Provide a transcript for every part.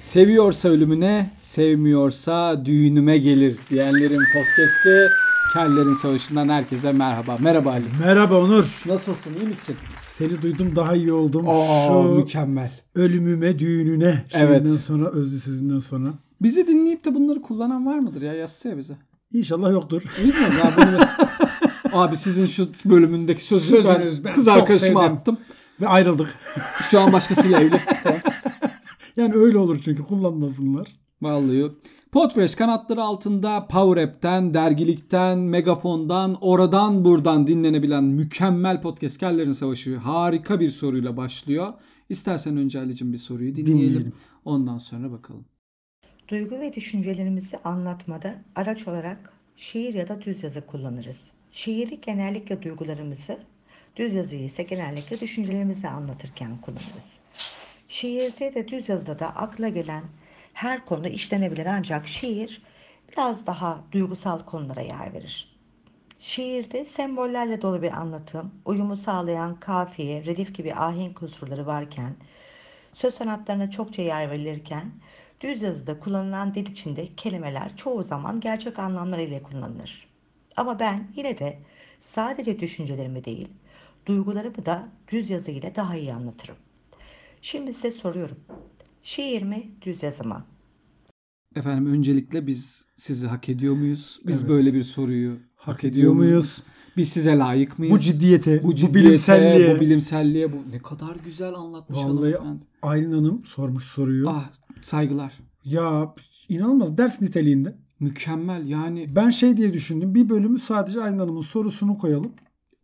Seviyorsa ölümüne, sevmiyorsa düğünüme gelir diyenlerin podcast'i Kellerin Savaşı'ndan herkese merhaba. Merhaba Ali. Merhaba Onur. Nasılsın? iyi misin? Seni duydum daha iyi oldum. Aa, Şu mükemmel. ölümüme, düğününe şeyinden Evet. sonra, özlü sözünden sonra. Bizi dinleyip de bunları kullanan var mıdır ya? Yazsa ya bize. İnşallah yoktur. İyi mi? Ya bunu... Abi sizin şu bölümündeki sözünüz ben, Sözünüz, ben kız çok arkadaşıma sevdim. attım. Ve ayrıldık. Şu an başkasıyla evli. Yani öyle olur çünkü kullanmasınlar. Vallahi. Podfresh kanatları altında Power App'ten, dergilikten, Megafon'dan, oradan buradan dinlenebilen mükemmel podcast Kellerin Savaşı harika bir soruyla başlıyor. İstersen önce Ali'cim bir soruyu dinleyelim. Dinleyelim. Ondan sonra bakalım. Duygu ve düşüncelerimizi anlatmada araç olarak şiir ya da düz yazı kullanırız. Şiiri genellikle duygularımızı, düz yazıyı ise genellikle düşüncelerimizi anlatırken kullanırız. Şiirde de düz yazıda da akla gelen her konu işlenebilir ancak şiir biraz daha duygusal konulara yer verir. Şiirde sembollerle dolu bir anlatım, uyumu sağlayan kafiye, redif gibi ahenk unsurları varken, söz sanatlarına çokça yer verilirken, düz yazıda kullanılan dil içinde kelimeler çoğu zaman gerçek anlamlarıyla kullanılır. Ama ben yine de sadece düşüncelerimi değil, duygularımı da düz yazı ile daha iyi anlatırım. Şimdi size soruyorum. Şiir mi, düz yazı mı? Efendim öncelikle biz sizi hak ediyor muyuz? Biz Evet. böyle bir soruyu hak, Hak ediyor muyuz? Biz size layık mıyız? Bu ciddiyete, bu, ciddiyete, bilimselliğe. Bu bilimselliğe bu. Ne kadar güzel anlatmış Vallahi hanımefendi. Aylin Hanım sormuş soruyu. Ah saygılar. Ya inanılmaz ders niteliğinde. Mükemmel yani. Ben şey diye düşündüm. Bir bölümü sadece Aylin Hanım'ın sorusunu koyalım.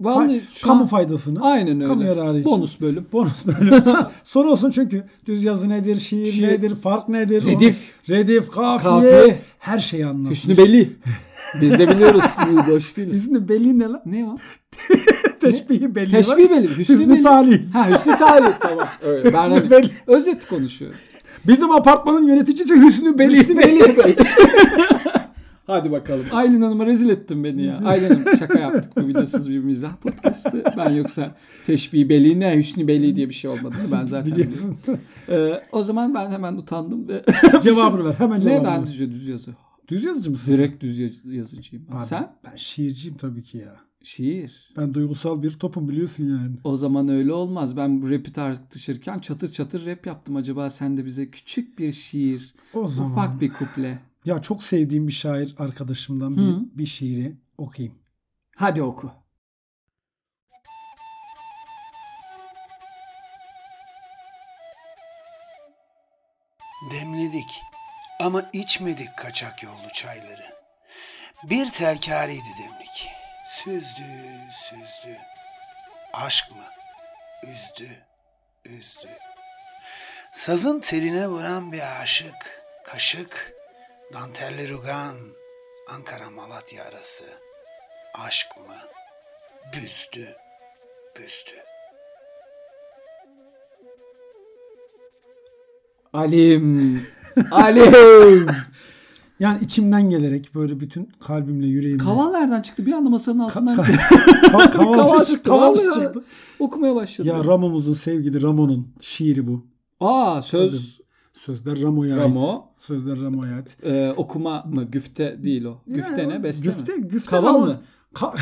Vallahi Fa- şu kamu an- faydasını. Aynen öyle. Kamu yararı için. Bonus bölüm. Bonus bölüm. Soru olsun çünkü düz yazı nedir, şiir, Şiir. nedir, fark nedir, Redif. onu- redif, kafiye, Kafiye. her şeyi anlatmış. Hüsnü Beli. Biz de biliyoruz. Boş değiliz. Hüsnü belli ne lan? Ne o? Teşbihi belli var. Teşbih Beli. Hüsnü, Hüsnü Beli. Talih. Ha Hüsnü Talih tamam. Öyle. Ben Hüsnü hani Beli. özet konuşuyorum. Bizim apartmanın yöneticisi Hüsnü Beli. Hüsnü Beli. Hadi bakalım. Aylin Hanım'a rezil ettin beni ya. Aylin Hanım şaka yaptık. Bu biliyorsunuz bir mizah podcast'ı. Ben yoksa Teşbih Beli ne Hüsnü Beli diye bir şey olmadığını ben zaten biliyorum. Biliyorsun. Ee, o zaman ben hemen utandım. ve- cevabını ver. Hemen ne cevabını ben ver. düz yazı? Düz yazıcı mısın? Direkt düz yaz- yazıcıyım. sen? Abi, Sen? Ben şiirciyim tabii ki ya. Şiir. Ben duygusal bir topum biliyorsun yani. O zaman öyle olmaz. Ben bu rapi tartışırken çatır çatır rap yaptım. Acaba sen de bize küçük bir şiir, O zaman. ufak bir kuple. Ya çok sevdiğim bir şair arkadaşımdan Hı. bir, bir şiiri okuyayım. Hadi oku. Demledik ama içmedik kaçak yollu çayları. Bir terkariydi demlik. Süzdü, süzdü. Aşk mı? Üzdü, üzdü. Sazın teline vuran bir aşık, kaşık, dantelli rugan, Ankara Malatya arası. Aşk mı? Büzdü, büzdü. Alim. Alim. Yani içimden gelerek böyle bütün kalbimle yüreğimle. Kaval nereden çıktı? Bir anda masanın altından Ka- çıktı. Ka- Kaval kaval çıktı. çıktı, Kaval vallahi. çıktı. okumaya başladı. Ya Ramo'muzun sevgili Ramo'nun şiiri bu. Aa söz Sözler Ramo'ya ait. Ramo. Sözler Ramo'ya ait. e, okuma mı? Güfte değil o. Güfte Yani ne? o Beste güfte, mi? Güfte Kaval Ramo- mı? Ka-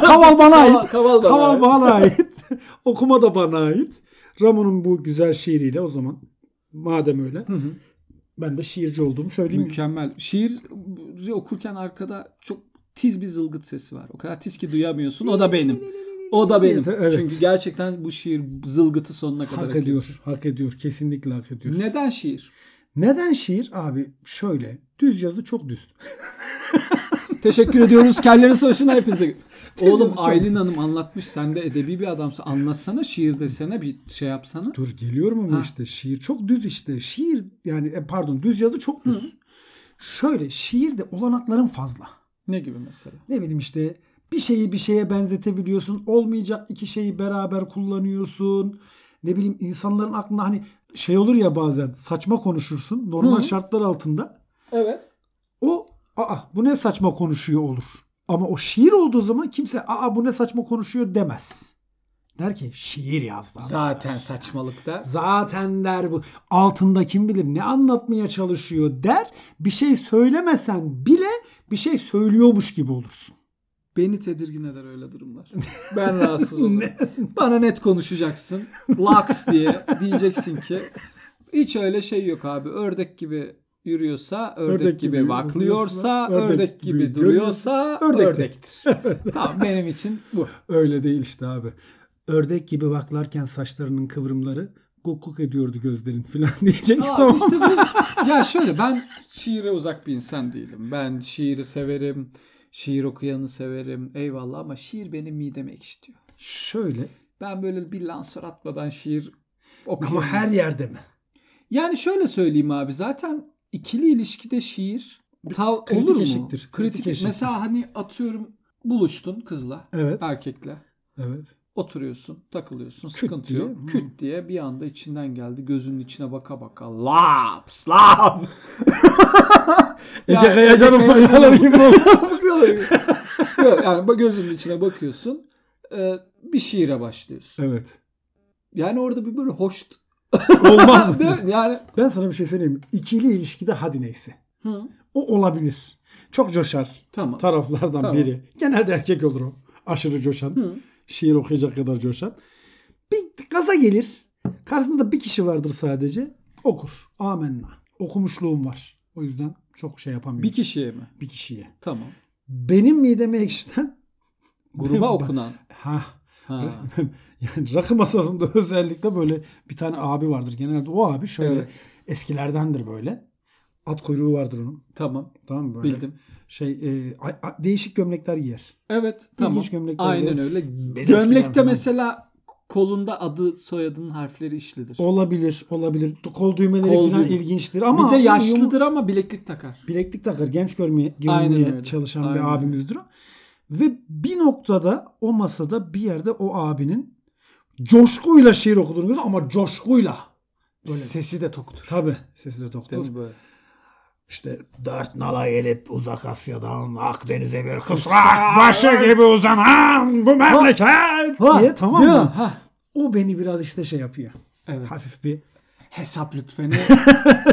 kaval bana Kaval, ait. kaval da var. Kaval bana ait. Okuma da bana ait. Ramo'nun bu güzel şiiriyle o zaman madem öyle Hı hı. ben de şiirci olduğumu söyleyeyim. Mükemmel. Şiir okurken arkada çok tiz bir zılgıt sesi var. O kadar tiz ki duyamıyorsun. O da benim. O da benim. Evet. Çünkü gerçekten bu şiir zılgıtı sonuna kadar Hak hak ediyor. ediyor. Hak ediyor. Kesinlikle hak ediyor. Neden şiir? Neden şiir? Abi şöyle. Düz yazı çok düz. Teşekkür ediyoruz. Kellerin savaşına hepinize. Oğlum Teyzesi çok- Aylin Hanım anlatmış. Sen de edebi bir adamsın. Anlatsana şiir desene bir şey yapsana. Dur geliyorum ama Ha. işte şiir çok düz işte. Şiir yani e, pardon düz yazı çok düz. Şöyle şiirde olanakların fazla. Ne gibi mesela? Ne bileyim işte bir şeyi bir şeye benzetebiliyorsun. Olmayacak iki şeyi beraber kullanıyorsun. Ne bileyim insanların aklında hani şey olur ya bazen saçma konuşursun normal Hı. şartlar altında. Evet. O aa bu ne saçma konuşuyor olur. Ama o şiir olduğu zaman kimse aa bu ne saçma konuşuyor demez. Der ki şiir yazdı. adam. Zaten saçmalıkta. Zaten der bu altında kim bilir ne anlatmaya çalışıyor der. Bir şey söylemesen bile bir şey söylüyormuş gibi olursun. Beni tedirgin eder öyle durumlar. Ben rahatsız olurum. Bana net konuşacaksın. Laks diye diyeceksin ki. Hiç öyle şey yok abi. Ördek gibi yürüyorsa, ördek, Ördek gibi, gibi vaklıyorsa, yürüyorsa, ördek, ördek gibi, gibi duruyorsa görüyorsa, ördektir. tamam benim için bu. Öyle değil işte abi. Ördek gibi baklarken saçlarının kıvrımları guk guk ediyordu gözlerin filan diyecek. Aa, tamam. işte bu. Ya şöyle ben şiire uzak bir insan değilim. Ben şiiri severim. Şiir okuyanı severim. Eyvallah ama şiir benim mideme ekşitiyor. Şöyle Ben böyle bir lansör atmadan şiir ama okuyamam. her yerde mi? Yani şöyle söyleyeyim abi zaten ikili ilişkide şiir tav kritik olur mu? eşiktir, kritik eşiktir. Mesela hani atıyorum buluştun kızla, Evet. erkekle. Evet. Oturuyorsun, takılıyorsun, Küt sıkıntı diye, yok. hı. Küt diye bir anda içinden geldi. Gözünün içine baka baka. Laps, laps. Ege Ya, Kayacan'ın Ege Kayacan'ın- faydaları gibi oldu. Yok yani bu gözünün içine bakıyorsun. e, Bir şiire başlıyorsun. evet. Yani orada bir böyle hoş Olmaz mı? yani Ben sana bir şey söyleyeyim. mi? İkili ilişkide hadi neyse. hı, O olabilir. Çok coşar tamam. taraflardan Tamam. biri. Genelde erkek olur o. Aşırı coşan. Hı. Şiir okuyacak kadar coşan. Bir gaza gelir. Karşısında bir kişi vardır sadece. Okur. Amenna. Okumuşluğum var. O yüzden çok şey yapamıyorum. Bir Bir, kişiye mi? kişiye. Tamam. Benim mideme ekşiden Gruba okunan. Ha. Ha. yani rakı masasında özellikle böyle bir tane abi vardır. Genelde o abi şöyle Evet. eskilerdendir böyle. At kuyruğu vardır onun. Tamam. Tamam mı? Böyle Bildim. şey e, a- a- değişik gömlekler giyer. Evet. Tamam. İlginç gömlekler Aynen giyer. öyle. eskiden Gömlekte falan. mesela kolunda adı soyadının harfleri işlidir. Olabilir, olabilir. Kol düğmeleri Kol falan düğme. ilginçtir ama bir de yum- yaşlıdır ama bileklik takar. bileklik takar, genç görmeye, Aynen öyle. görünmeye çalışan Aynen öyle. bir abimizdir o. Ve bir noktada o masada bir yerde o abinin coşkuyla şiir okuduğunu görüyoruz ama coşkuyla. Böyle. Sesi de toktur. Tabi sesi de Değil doktor. mi böyle? İşte dört nala gelip uzak Asya'dan Akdeniz'e bir kısrak başı gibi uzanan bu memleket diye tamam Değil mi? mı? Ha. O beni biraz işte şey yapıyor. Evet. Hafif bir Hesap lütfen.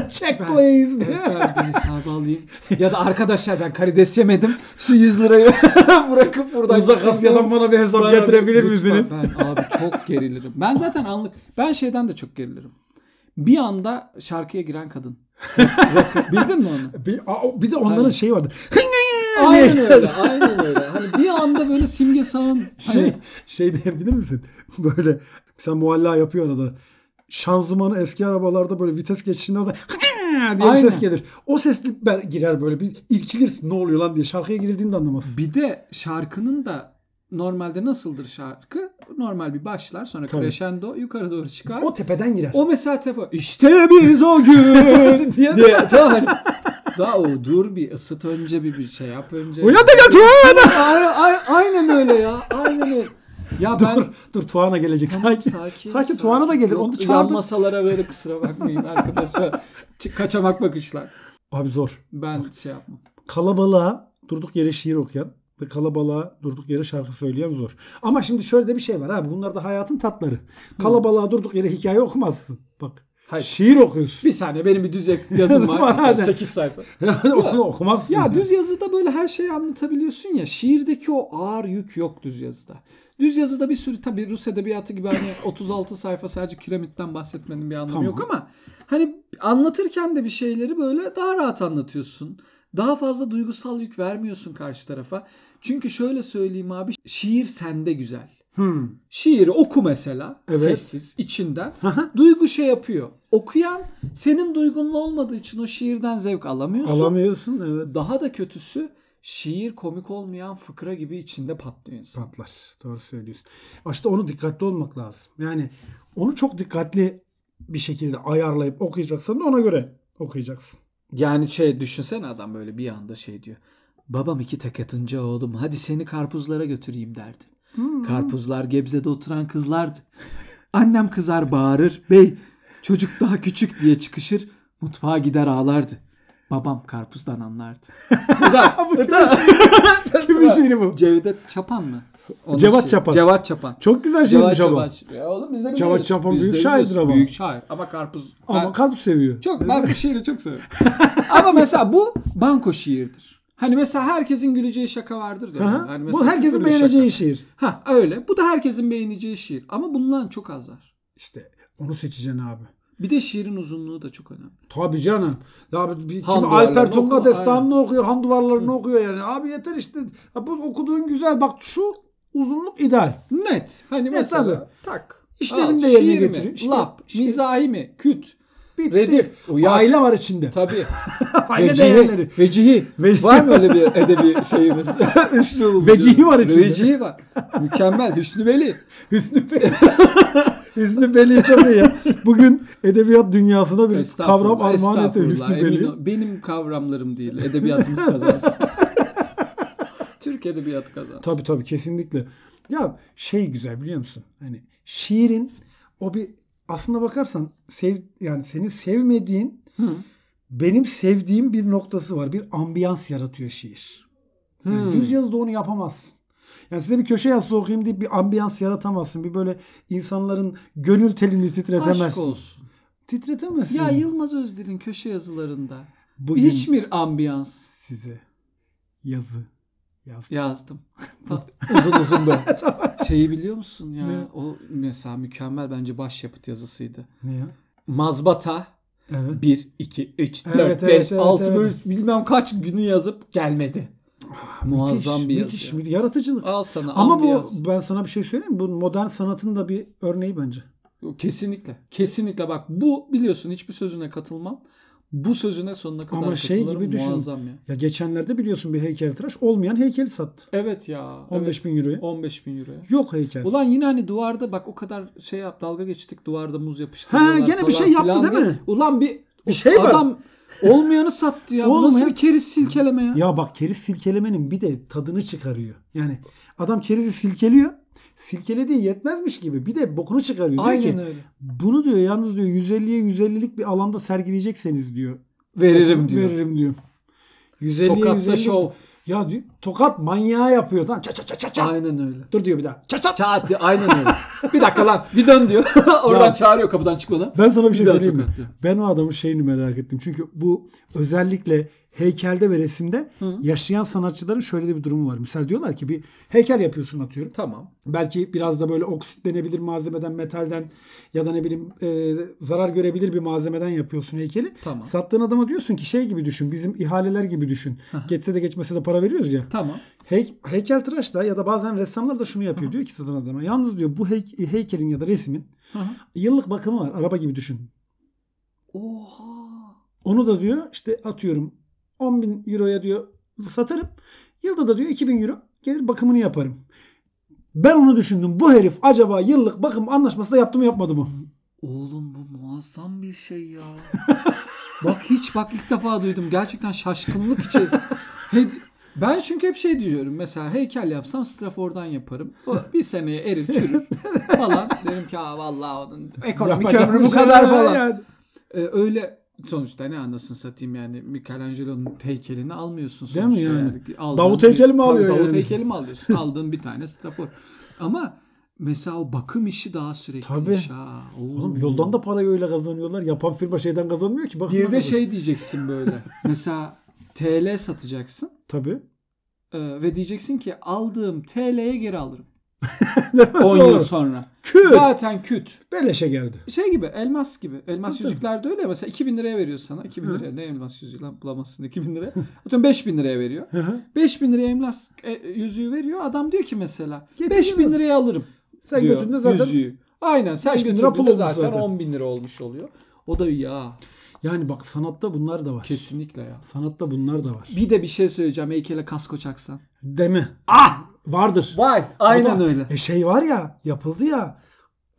check Ben- please Evet, diye. ben bir hesabı alayım. Ya da arkadaşlar ben karides yemedim. Şu 100 lirayı bırakıp buradan Uzak Asya'dan bana bir hesap getirebilir Lütfen misiniz? Ben abi çok gerilirim. Ben zaten anlık ben şeyden de çok gerilirim. Bir anda şarkıya giren kadın. Rock- Bildin mi onu? Bir, a- bir de onların Aynen. şeyi vardı. Hani Aynen öyle. Aynen öyle. Hani bir anda böyle Simge Sağ'ın Şey, hani, şey diyebilir misin? Böyle sen muhalla yapıyor arada. Şanzımanı eski arabalarda böyle vites geçişinde orada diye bir ses Aynen. gelir. O sesli ber- girer böyle bir irkilirsin ne oluyor lan diye. Şarkıya girildiğini de anlamazsın. bir de şarkının da normalde nasıldır şarkı? Normal bir başlar sonra Tabii. crescendo yukarı doğru çıkar. O tepeden girer. O mesela tepe işte biz o gün Diye- diye daha hani daha o dur bir ısıt önce bir bir şey yap önce. Uyan da yat uyan! Ay- ay- aynen öyle ya. Aynen öyle. Ya ben Dur, dur Tuana gelecek. Tamam, sakin. Sakin, Tuana da gelir. Yok, Onu çağırdım. Yan masalara böyle kusura bakmayın arkadaşlar. Ç- Kaçamak bakışlar. Abi zor. Ben şey yapmam. Kalabalığa durduk yere şiir okuyan ve kalabalığa durduk yere şarkı söyleyen zor. Ama şimdi şöyle de bir şey var abi. Bunlar da hayatın tatları. Kalabalığa durduk yere hikaye okumazsın. Bak. Hayır. Şiir okuyorsun. Bir saniye benim bir düz yazım var. Hadi. 8 sayfa. Onu okumazsın. Ya düz yazıda böyle her şeyi anlatabiliyorsun ya. Şiirdeki o ağır yük yok düz yazıda. Düz yazıda bir sürü tabii Rus edebiyatı gibi hani 36 sayfa sadece kiremitten bahsetmenin bir anlamı Tamam. yok ama hani anlatırken de bir şeyleri böyle daha rahat anlatıyorsun. Daha fazla duygusal yük vermiyorsun karşı tarafa. Çünkü şöyle söyleyeyim abi şiir sende güzel. Hmm. Şiiri oku mesela Evet. sessiz içinden. Duygu şey yapıyor. Okuyan senin duygunun olmadığı için o şiirden zevk alamıyorsun. Alamıyorsun evet. Daha da kötüsü şiir komik olmayan fıkra gibi içinde patlıyor insan. Patlar. Doğru söylüyorsun. İşte onu dikkatli olmak lazım. Yani onu çok dikkatli bir şekilde ayarlayıp okuyacaksan da ona göre okuyacaksın. Yani şey düşünsene adam böyle bir anda şey diyor. Babam iki tek atınca oğlum hadi seni karpuzlara götüreyim derdi. Karpuzlar Gebze'de oturan kızlardı. Annem kızar bağırır. Bey çocuk daha küçük diye çıkışır. Mutfağa gider ağlardı. Babam karpuzdan anlardı. Güzel. Bu kimin şiiri bu? Cevdet Çapan mı? Onun Cevat şeyi- Çapan. Cevat Çapan. Çok güzel Cevat şeymiş ama. Çapan. Ya oğlum biz de biliyoruz. Cevat Çapan Biz de büyük biliyoruz. şairdir ama. Büyük şair. Ama karpuz. Ama Ben- kalp seviyor. Çok Değil mi? ben bu şiiri çok seviyorum. Ama mesela bu banko şiiridir. Hani mesela herkesin güleceği şaka vardır ya. Hı hı. Hani Bu mesela herkesin böyle beğeneceği şaka. şiir. Ha öyle. Bu da herkesin beğeneceği şiir. Ama bundan çok az var. İşte onu seçeceksin abi. Bir de şiirin uzunluğu da çok önemli. Tabii canım. Ya bir- bir, Han kimi duvarlarını Alper Tunga okuma, destanını okuyor, han duvarlarını okuyor yani. Abi yeter işte. Ya bu okuduğun güzel. Bak şu uzunluk ideal. Net. Hani Net mesela. tabii. Tak. İşlerini Al, de yerine şiir mi, getirin. Şiir, Lap. şiir. Mizahi mi? Küt. Bitti. Redif. Uyak. Aile var içinde. Tabii. Aile vecihi, değerleri. Vecihi. Ve- Var mı öyle bir edebi şeyimiz? Üslubumuz. Vecihi var içinde. Vecihi var. Mükemmel. Hüsnü Veli. Hüsnü Bey. Hüsnü Bey'i çok iyi ya. Bugün edebiyat dünyasına bir Estağfurullah, kavram armağan etti estağfurullah. Hüsnü Emin Bey'i. ol, Benim kavramlarım değil. Edebiyatımız kazansın. Türk edebiyatı kazansın. Tabii tabii kesinlikle. Ya şey güzel biliyor musun? Hani şiirin o bir aslında bakarsan sev yani seni sevmediğin Hı. benim sevdiğim bir noktası var. Bir ambiyans yaratıyor şiir. Yani Hmm. Düz yazıda onu yapamazsın. Yani size bir köşe yazısı okuyayım deyip bir ambiyans yaratamazsın. Bir böyle insanların gönül telini titretemezsin. Aşk olsun. Titretemezsin. Ya Yılmaz Özdil'in köşe yazılarında Bugün hiç mi ambiyans size yazı yazdım. yazdım? uzun uzun böyle. Şeyi biliyor musun ya? Ne? O mesela mükemmel bence başyapıt yazısıydı. Ne ya? Mazbata Evet. 1, 2, 3, 4, Evet, evet, 5, evet, 6 evet. Ah, bilmem kaç günü yazıp gelmedi. Muazzam müthiş, bir yazı müthiş, ya. bir yaratıcılık. Al sana Ama bu ambiyans. ben sana bir şey söyleyeyim mi? Bu modern sanatın da bir örneği bence. Kesinlikle. Kesinlikle bak bu biliyorsun hiçbir sözüne katılmam. Bu sözüne sonuna kadar Ama şey katılırım. gibi düşün. Muazzam ya. Ya geçenlerde biliyorsun bir heykeltıraş olmayan heykeli sattı. Evet ya. 15 15 bin euroya. bin. 15 bin euro. ya. Yok heykel. Ulan yine hani duvarda bak o kadar şey yap dalga geçtik duvarda muz yapıştı. Ha, gene bir şey yaptı değil mi? Ulan bir, Bir şey var. adam olmayanı sattı ya. Bu Olmayan- nasıl bir keriz silkeleme ya? Ya bak keriz silkelemenin bir de tadını çıkarıyor. Yani adam kerizi silkeliyor. Silkelediği yetmezmiş gibi bir de bokunu çıkarıyor. Diyor Aynen ki öyle. bunu diyor yalnız diyor 150'ye 150'lik bir alanda sergileyecekseniz diyor. Veririm Satın- diyor. Veririm diyor. 150'ye Tokatla 150'lik şov. Ya diyor, tokat manyağı yapıyor tamam. Çat çat çat çat. çat. Aynen öyle. Dur diyor bir daha. Çat çat. Çat diyor, aynen öyle. bir dakika lan bir dön diyor. Oradan Ya. çağırıyor kapıdan çıkmadan. Ben sana bir şey Bir daha söyleyeyim mi? tokatlıyor. Ben o adamın şeyini merak ettim. Çünkü bu özellikle heykelde ve resimde Hı. yaşayan sanatçıların şöyle de bir durumu var. Misal diyorlar ki bir heykel yapıyorsun atıyorum. Tamam. Belki biraz da böyle oksitlenebilir malzemeden, metalden ya da ne bileyim e, zarar görebilir bir malzemeden yapıyorsun heykeli. Tamam. Sattığın adama diyorsun ki şey gibi düşün. Bizim ihaleler gibi düşün. Aha. Geçse de geçmese de para veriyoruz ya. Tamam. Hey, heykeltıraş da ya da bazen ressamlar da şunu yapıyor. Diyor ki satan adama yalnız diyor bu hey- heykelin ya da resmin Hı hı. yıllık bakımı var. Araba gibi düşün. Oha. Onu da diyor işte atıyorum 10 bin euroya diyor satarım. Yılda da diyor 2000 euro gelir bakımını yaparım. Ben onu düşündüm. Bu herif acaba yıllık bakım anlaşması da yaptı mı yapmadı mı? Oğlum bu muazzam bir şey ya. bak hiç bak ilk defa duydum. Gerçekten şaşkınlık içerisinde. He- ben çünkü hep şey diyorum. Mesela heykel yapsam strafordan yaparım. O bir seneye erir çürür falan. Derim ki aa vallahi onun ekonomik Yapacak ömrü bir bu şey kadar yok falan. yani. Ee, öyle sonuçta ne anlasın satayım yani Michelangelo'nun heykelini almıyorsun Değil sonuçta. mi yani? Aldığın Davut bir- heykeli mi Tabii alıyor Davut yani? heykeli mi alıyorsun? Aldığın bir tane strafor. Ama mesela o bakım işi daha sürekli Tabii. iş ha. Oo. Oğlum yoldan da parayı öyle kazanıyorlar. Yapan firma şeyden kazanmıyor ki. Bakımdan Bir de kazanıyor. şey diyeceksin böyle. mesela TL satacaksın Tabii. e, ve diyeceksin ki aldığım TL'ye geri alırım. Evet, 10 doğru. yıl sonra. Küt. Zaten küt. Beleşe geldi. Şey gibi elmas gibi. Elmas Tabii. yüzükler de öyle. ya. Mesela 2000 liraya veriyor sana. 2000 Hı. liraya ne elmas yüzüğü lan bulamazsın 2000 liraya. Atıyorum 5000 liraya veriyor. Hı hı. 5000 liraya elmas e, yüzüğü veriyor. Adam diyor ki mesela Getir 5000 yanına. liraya alırım. Sen diyor götürdün zaten. yüzüğü. Aynen sen 5000 lira götürdüğünde pul olmuş zaten, zaten. 10 bin lira olmuş oluyor. O da ya Yani bak sanatta bunlar da var. kesinlikle ya. Sanatta bunlar da var. Bir de bir şey söyleyeceğim heykele kasko çaksan. Deme. Ah! Vardır. Vay! O Aynen da- öyle. E şey var ya yapıldı ya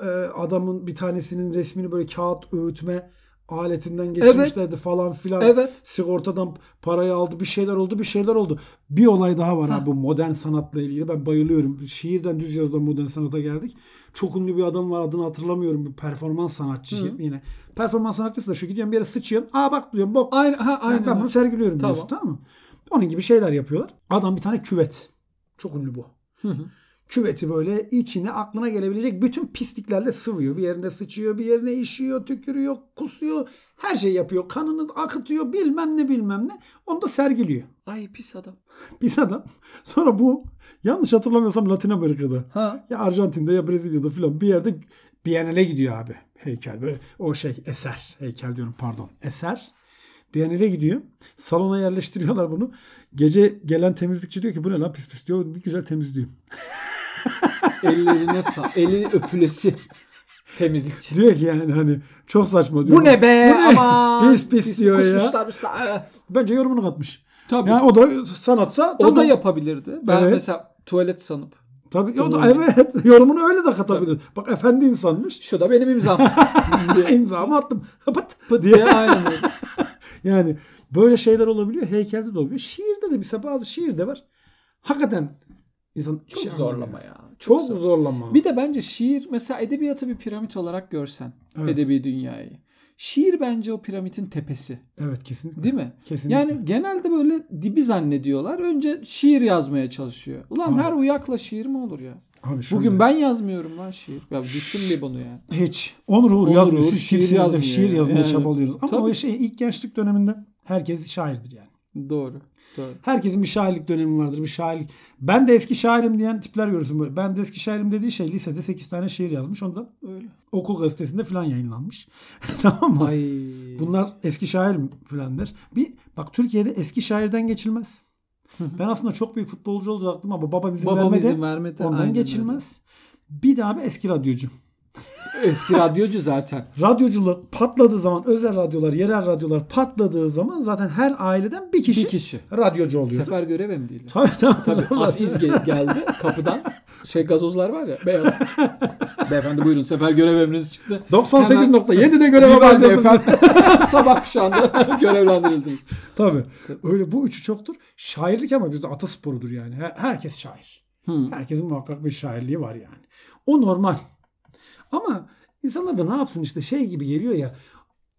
e, adamın bir tanesinin resmini böyle kağıt öğütme aletinden geçirmişlerdi falan filan. Evet. Sigortadan parayı aldı bir şeyler oldu bir şeyler oldu. Bir olay daha var Ha. abi bu modern sanatla ilgili ben bayılıyorum. Şiirden düz yazıdan modern sanata geldik. Çok ünlü bir adam var adını hatırlamıyorum bir performans sanatçısı Hı. yine. Performans sanatçısı da şu gidiyorsun bir yere sıçıyorsun aa bak diyorum bok Aynen. Ha, aynen. ben bunu sergiliyorum Tamam. diyorsun tamam mı? Onun gibi şeyler yapıyorlar. Adam bir tane küvet. Çok ünlü bu. Hı hı. küveti böyle içine aklına gelebilecek bütün pisliklerle sıvıyor. Bir yerine sıçıyor, bir yerine işiyor, tükürüyor, kusuyor. Her şey yapıyor. Kanını akıtıyor bilmem ne bilmem ne. Onu da sergiliyor. Ay pis adam. Biz adam. Sonra bu yanlış hatırlamıyorsam Latin Amerika'da. Ha. Ya Arjantin'de ya Brezilya'da filan bir yerde Biennale gidiyor abi. Heykel böyle o şey eser. Heykel diyorum pardon. Eser. Biennale gidiyor. Salona yerleştiriyorlar bunu. Gece gelen temizlikçi diyor ki bu ne lan pis pis diyor. Bir güzel temizliyor. Ellerine sağ. Eli öpülesi. Temizlikçi. Diyor ki yani hani çok saçma diyor. Bu ne be? Bu ne? Aman. Pis pis diyor ya. Kusmuşlar. Bence yorumunu katmış. Tabii. Yani o da sanatsa o tamam. da yapabilirdi. Ben Evet. mesela tuvalet sanıp. Tabii, o da, evet yorumunu öyle de katabilir. Bak efendi insanmış. Şu da benim imzam. diye. İmzamı attım. Pıt Pıt diye. diye aynen öyle. Yani böyle şeyler olabiliyor. Heykelde de olabiliyor. Şiirde de mesela bazı şiirde var. Hakikaten insan Çok şey zorlama anlamıyor. ya. Çok zor. zorlama. Bir de bence şiir mesela edebiyatı bir piramit olarak görsen evet. edebi dünyayı. Şiir bence o piramitin tepesi, Evet kesinlikle. değil mi? Kesinlikle. Yani genelde böyle dibi zannediyorlar. Önce şiir yazmaya çalışıyor. Ulan Abi. her uyakla şiir mi olur ya? Abi şöyle- Bugün ben yazmıyorum lan şiir. Ya düşün bir bunu ya. hiç Onur Uğur Onur yazmıyor. Uğur Siz şiir kimsiniz de yazmıyor şiir yani. yazmaya Yani. çabalıyoruz. Ama Tabii. o şey ilk gençlik döneminde herkes şairdir yani. Doğru. Doğru. Herkesin bir şairlik dönemi vardır. Bir şairlik. Ben de eski şairim diyen tipler görürsün böyle. Ben de eski şairim dediği şey lisede 8 tane şiir yazmış. Onu da Öyle. okul gazetesinde falan yayınlanmış. tamam mı? Ay. Bunlar eski şair mi filandır. Bir bak Türkiye'de eski şairden geçilmez. Hı hı. Ben aslında çok büyük futbolcu olacaktım ama babam izin Babam vermedi. izin vermedi. Ondan Aynen öyle. geçilmez. Bir daha bir eski radyocu. Eski radyocu zaten. Radyocular patladığı zaman özel radyolar, yerel radyolar patladığı zaman zaten her aileden bir kişi, Bir kişi. radyocu oluyor. Sefer göreve mi değil? Tabii tabii. Tabii tabii. Asiz ge- geldi kapıdan. Şey gazozlar var ya beyaz. Beyefendi buyurun sefer görev emriniz çıktı. 98.7'de göreve Beyefendi başladım. efendim. Sabah kuşağında görevlendirildiniz. Tabii. Tabii. Öyle bu üçü çoktur. Şairlik ama bizde atasporudur yani. Her- herkes şair. Hmm. Herkesin muhakkak bir şairliği var yani. O normal. Ama insanlar da ne yapsın işte şey gibi geliyor ya.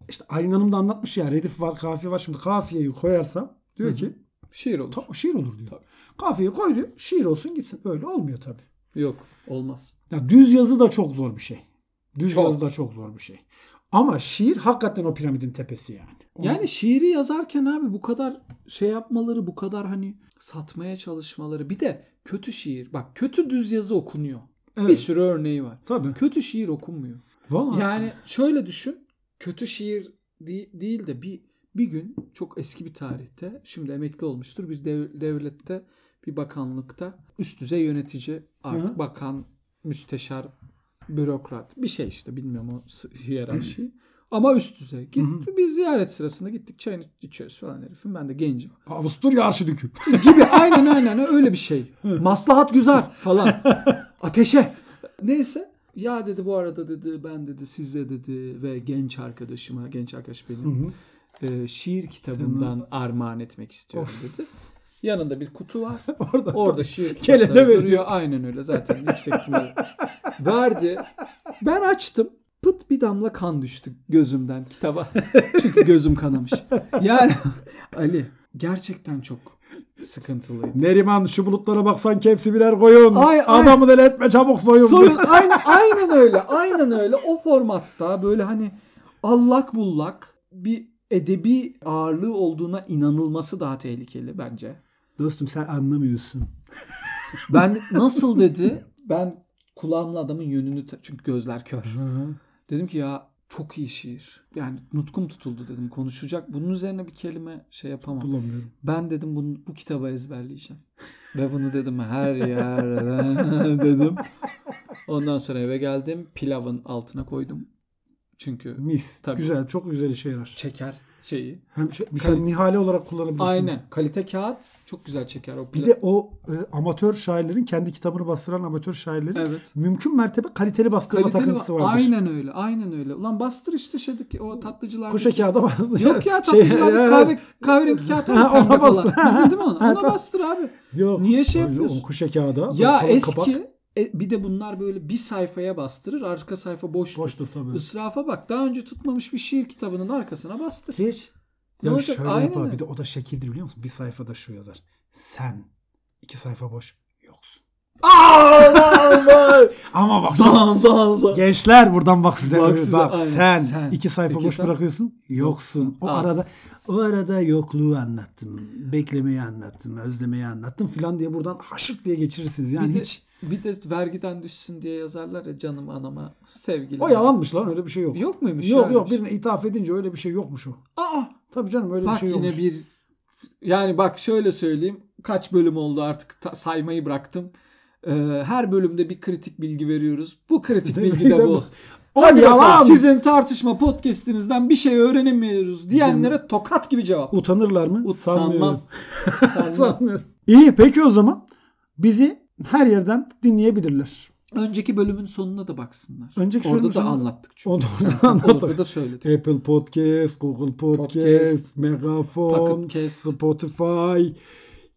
İşte Aylin Hanım da anlatmış ya redif var kafiye var. Şimdi kafiyeyi koyarsam diyor Hı hı. ki Şiir olur. "Ta- şiir olur diyor. Tabii. Kafiyeyi koy diyor şiir olsun gitsin. Öyle olmuyor tabii. Yok olmaz. Ya düz yazı da çok zor bir şey. Düz Çok. yazı da çok zor bir şey. Ama şiir hakikaten o piramidin tepesi yani. Onu- Yani şiiri yazarken abi bu kadar şey yapmaları, bu kadar hani satmaya çalışmaları. Bir de kötü şiir. Bak kötü düz yazı okunuyor. evet, Bir sürü örneği var. tabii. Kötü şiir okunmuyor. Vallahi. Yani şöyle düşün. Kötü şiir de- değil de bir bir gün çok eski bir tarihte şimdi emekli olmuştur bir dev- devlette bir bakanlıkta üst düzey yönetici artık Hı. bakan, müsteşar, bürokrat bir şey işte bilmiyorum o s- hiyerarşi. Ama üst düzey. Gitti bir ziyaret sırasında gittik çayını içiyoruz falan herifin. Ben de gencim. Avusturya Arşidükü. Gibi aynen aynen öyle bir şey. Hı. Maslahat güzel falan. Ateşe. Neyse. Ya dedi bu arada dedi ben dedi size dedi ve genç arkadaşıma genç arkadaş Hı benim hı. e, şiir kitabından armağan etmek istiyorum dedi. Yanında bir kutu var. Orada. Orada şiir Kelebe kitapları veriyor. duruyor. Aynen öyle zaten yüksek ihtimal. Verdi. Ben açtım. Pıt bir damla kan düştü gözümden kitaba. Çünkü gözüm kanamış. Yani Ali gerçekten çok sıkıntılıydı. Neriman şu bulutlara baksan ki hepsi birer koyun. Ay, ay. Adamı del etme çabuk soyun. Soyun aynen, aynen öyle. Aynen öyle. O formatta böyle hani allak bullak bir edebi ağırlığı olduğuna inanılması daha tehlikeli bence. Dostum sen anlamıyorsun. Ben nasıl dedi? Ben kulağımla adamın yönünü ta- çünkü gözler kör. Dedim ki ya çok iyi şiir. Yani nutkum tutuldu dedim. Konuşacak. Bunun üzerine bir kelime şey yapamam. Bulamıyorum. Ben dedim bunu bu kitabı ezberleyeceğim. Ve bunu dedim her yerde dedim. Ondan sonra eve geldim. Pilavın altına koydum. Çünkü Mis. Tabii. Güzel. Çok güzel işe yarar. çeker şeyi. Hem şey, mesela Kal- nihale olarak kullanabilirsin. Aynen. Kalite kağıt çok güzel çeker o Bir pilav. de o e, amatör şairlerin kendi kitabını bastıran amatör şairlerin evet. mümkün mertebe kaliteli bastırma Kaliteli takıntısı va- vardır. Aynen öyle. Aynen öyle. Ulan bastır işte şeydeki o tatlıcılar. Kuşa kağıda bastır. Yok ya tatlıcılar evet. kahve, kahverengi kağıt Ha, olur, pembe ona bastır. olan. Bildin mi onu? Ha, Ona tamam. bastır abi. Yok. Niye şey Öyle, yapıyorsun? o Kuşa kağıda. Ya kalın kapak. eski e, bir de bunlar böyle bir sayfaya bastırır. Arka sayfa boş. Boştur tabii. Israfa bak. Daha önce tutmamış bir şiir kitabının arkasına bastır. Hiç. Ne Ya olacak? şöyle Aynen yapar. öyle. Bir de o da şekildir biliyor musun? Bir sayfada şu yazar. Sen. iki sayfa boş. Yoksun. Ama bak Zan zan zan. gençler buradan bak size. Bak Bak, size, aynen. sen, Sen. iki sayfa Peki boş sen? bırakıyorsun. Yoksun. O Aa. arada o arada yokluğu anlattım. Beklemeyi anlattım. Özlemeyi anlattım filan diye buradan haşırt diye geçirirsiniz. Yani Bir de- hiç Bir de vergiden düşsün diye yazarlar ya canım anama sevgili. o yalanmış lan öyle bir şey yok. Yok Yok muymuş? yok, yani? birine ithaf edince öyle bir şey yokmuş o. Aa, Tabii canım öyle bir bak şey yine yokmuş. bir yani bak şöyle söyleyeyim. Kaç bölüm oldu artık ta- saymayı bıraktım. Ee, her bölümde bir kritik bilgi veriyoruz. Bu kritik Değil mi? bilgi de Değil bu. mi? O Hadi bakalım, yalan. Sizin tartışma podcastinizden bir şey öğrenemiyoruz diyenlere tokat gibi cevap. Utanırlar mı? Utanmam. Sanmıyorum. Sanmam. Sanmıyorum. İyi peki o zaman bizi her yerden dinleyebilirler. Önceki bölümün sonuna da baksınlar. Önceki Orada bölümün da sonuna- anlattık çünkü. Onu Zaten da anlatalım. Orada da söyledik. Apple Podcast, Google Podcast, Podcast, Megafon, Pocket Cast. Spotify,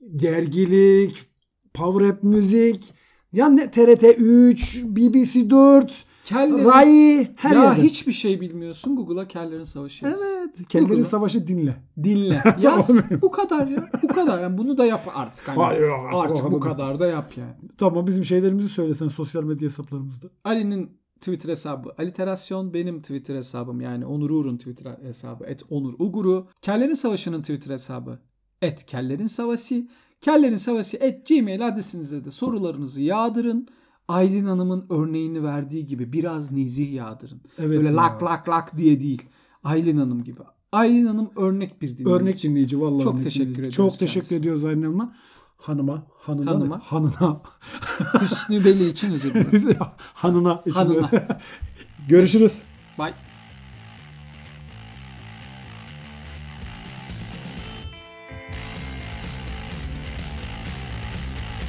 Dergilik, Power App Müzik, yani TRT 3, BBC 4, Kellerin- Rai her ya yerde. hiçbir şey bilmiyorsun. Google'a kellerin savaşı yaz. Evet. Kellerin Google'a. Savaşı dinle. Dinle. Yaz. bu kadar ya. Bu kadar. Yani bunu da yap artık. Hani. Hayır, yok, artık artık o bu kadar. kadar da yap yani. Tamam bizim şeylerimizi söylesen sosyal medya hesaplarımızda. Ali'nin Twitter hesabı Aliterasyon benim Twitter hesabım yani Onur Uğur'un Twitter hesabı et Onur Uguru. Kellerin Savaşı'nın Twitter hesabı et Kellerin Savaşı. Kellerin Savaşı et gmail adresinize de sorularınızı yağdırın. Aylin Hanım'ın örneğini verdiği gibi biraz nezih yağdırın. Evet. Böyle ya. lak lak lak diye değil. Aylin Hanım gibi. Aylin Hanım örnek bir dinleyici. Örnek dinleyici vallahi. Çok örnek teşekkür dinleyici. ediyoruz Çok teşekkür kendisine. ediyoruz Aylin Hanım'a. Hanıma, hanına, Hanıma. hanıma. hanına, Hüsnü Beli için özür dilerim. hanına, içinde. Hanına. Görüşürüz. Bye.